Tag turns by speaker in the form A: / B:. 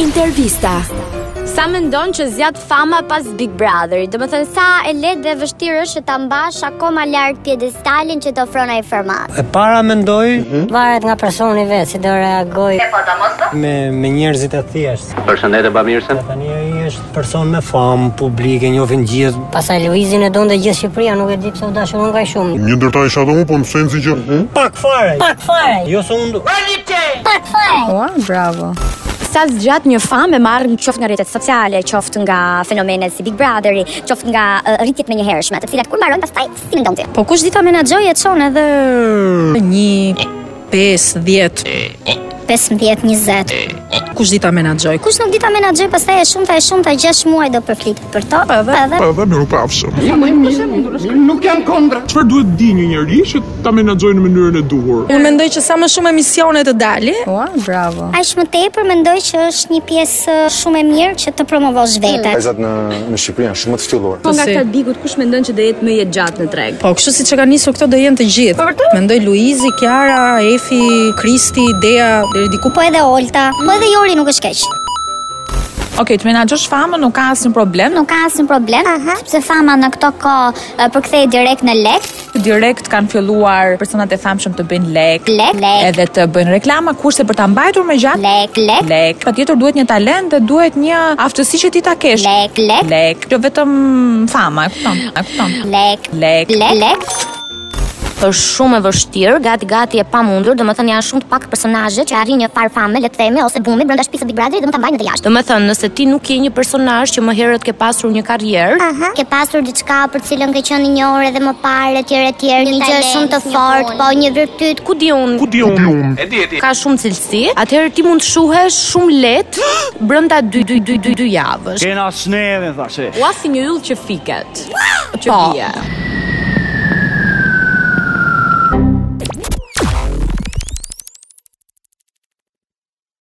A: Intervista.
B: Sa mendon që zjat fama pas Big Brotherit? Do të thënë sa e lehtë dhe vështirë është që ta mbash akoma lart piedestalin që të ofron ai format.
C: E para mendoj
D: Varet nga personi vetë si do reagoj.
C: me, me njerëzit e thjeshtë.
E: Përshëndetje Bamirsen.
C: Tani ai është person me famë publike, njohin gjithë.
D: Pastaj Luizin e donte gjithë Shqipëria, nuk e di pse u dashuron nga i shumë.
F: Një ndërta isha dhe unë, po në sensi që
C: Pak fare.
D: Pak fare.
C: Jo se unë
B: Sa zgjat një famë e marr qoftë nga rrjetet sociale, qoftë nga fenomenet si Big Brotheri, qoftë nga uh, rritjet menjëhershme, të cilat kur mbarojnë pastaj si mendon ti? Po kush di ta menaxhojë e çon edhe
G: Një 5, 10
B: 15, 20.
G: Kush di ta menaxhoj?
B: Kush nuk di ta menaxhoj pastaj e shumta e shumta 6 muaj do përflitet për to. Edhe
F: Pa edhe miru pafshëm
H: Nuk jam kondra.
F: Qëfar duhet di një njëri që ta menaxojë në mënyrën e duhur?
G: Unë mendoj që sa më shumë emisione të dali,
I: Po.
B: aq më tepër mendoj që është një pjesë uh, shumë e mirë që të promovosh veten.
H: Vajzat në në Shqipëri janë shumë të ftylluara.
J: Po nga
G: Si?
J: këta bigut kush mendon që do jetë më i gjatë në treg?
G: po kështu siç e kanë nisur këto do jenë të
I: Po,
G: gjithë. Mendoj Luizi, Kiara, Efi, Kristi, Dea deri diku.
B: Po edhe Olta, po edhe Jori nuk është keq.
I: Okej, të menaxhosh famën nuk ka asnjë problem,
B: nuk ka asnjë problem, sepse fama në këto kohë e, përkthehet direkt në lek,
I: nuk direkt kanë filluar personat e famshëm të bëjnë lek,
B: lek, lek,
I: edhe të bëjnë reklama, kurse për ta mbajtur më gjatë
B: lek, lek,
I: lek. Patjetër duhet një talent dhe duhet një aftësi që ti ta kesh.
B: lek, lek,
I: Lek, jo vetëm fama, e kupton? E kupton?
B: lek,
I: Lek.
B: lek, lek.
A: Është shumë e vështirë, gati gati e pamundur, domethënë janë shumë të pak personazhe që arrin një farë fame, le të themi, ose bumi brenda shtëpisë së Big Brotherit dhe mund ta mbajnë edhe jashtë.
J: Domethënë, nëse ti nuk je një personazh që më herët ke pasur një karrierë,
B: Aha. Ke pasur diçka për cilën ke qenë një orë dhe më parë etj etj, një gjë shumë të fortë, po një virtyt
J: ku di unë
F: Ku di unë?
J: ka shumë cilësi, atëherë ti mund të shuhesh shumë lehtë brenda 2 2 2 2 javësh.
H: Kena sneve thashë.
J: Ua si një yll që fiket. Që
I: Po.
J: bie.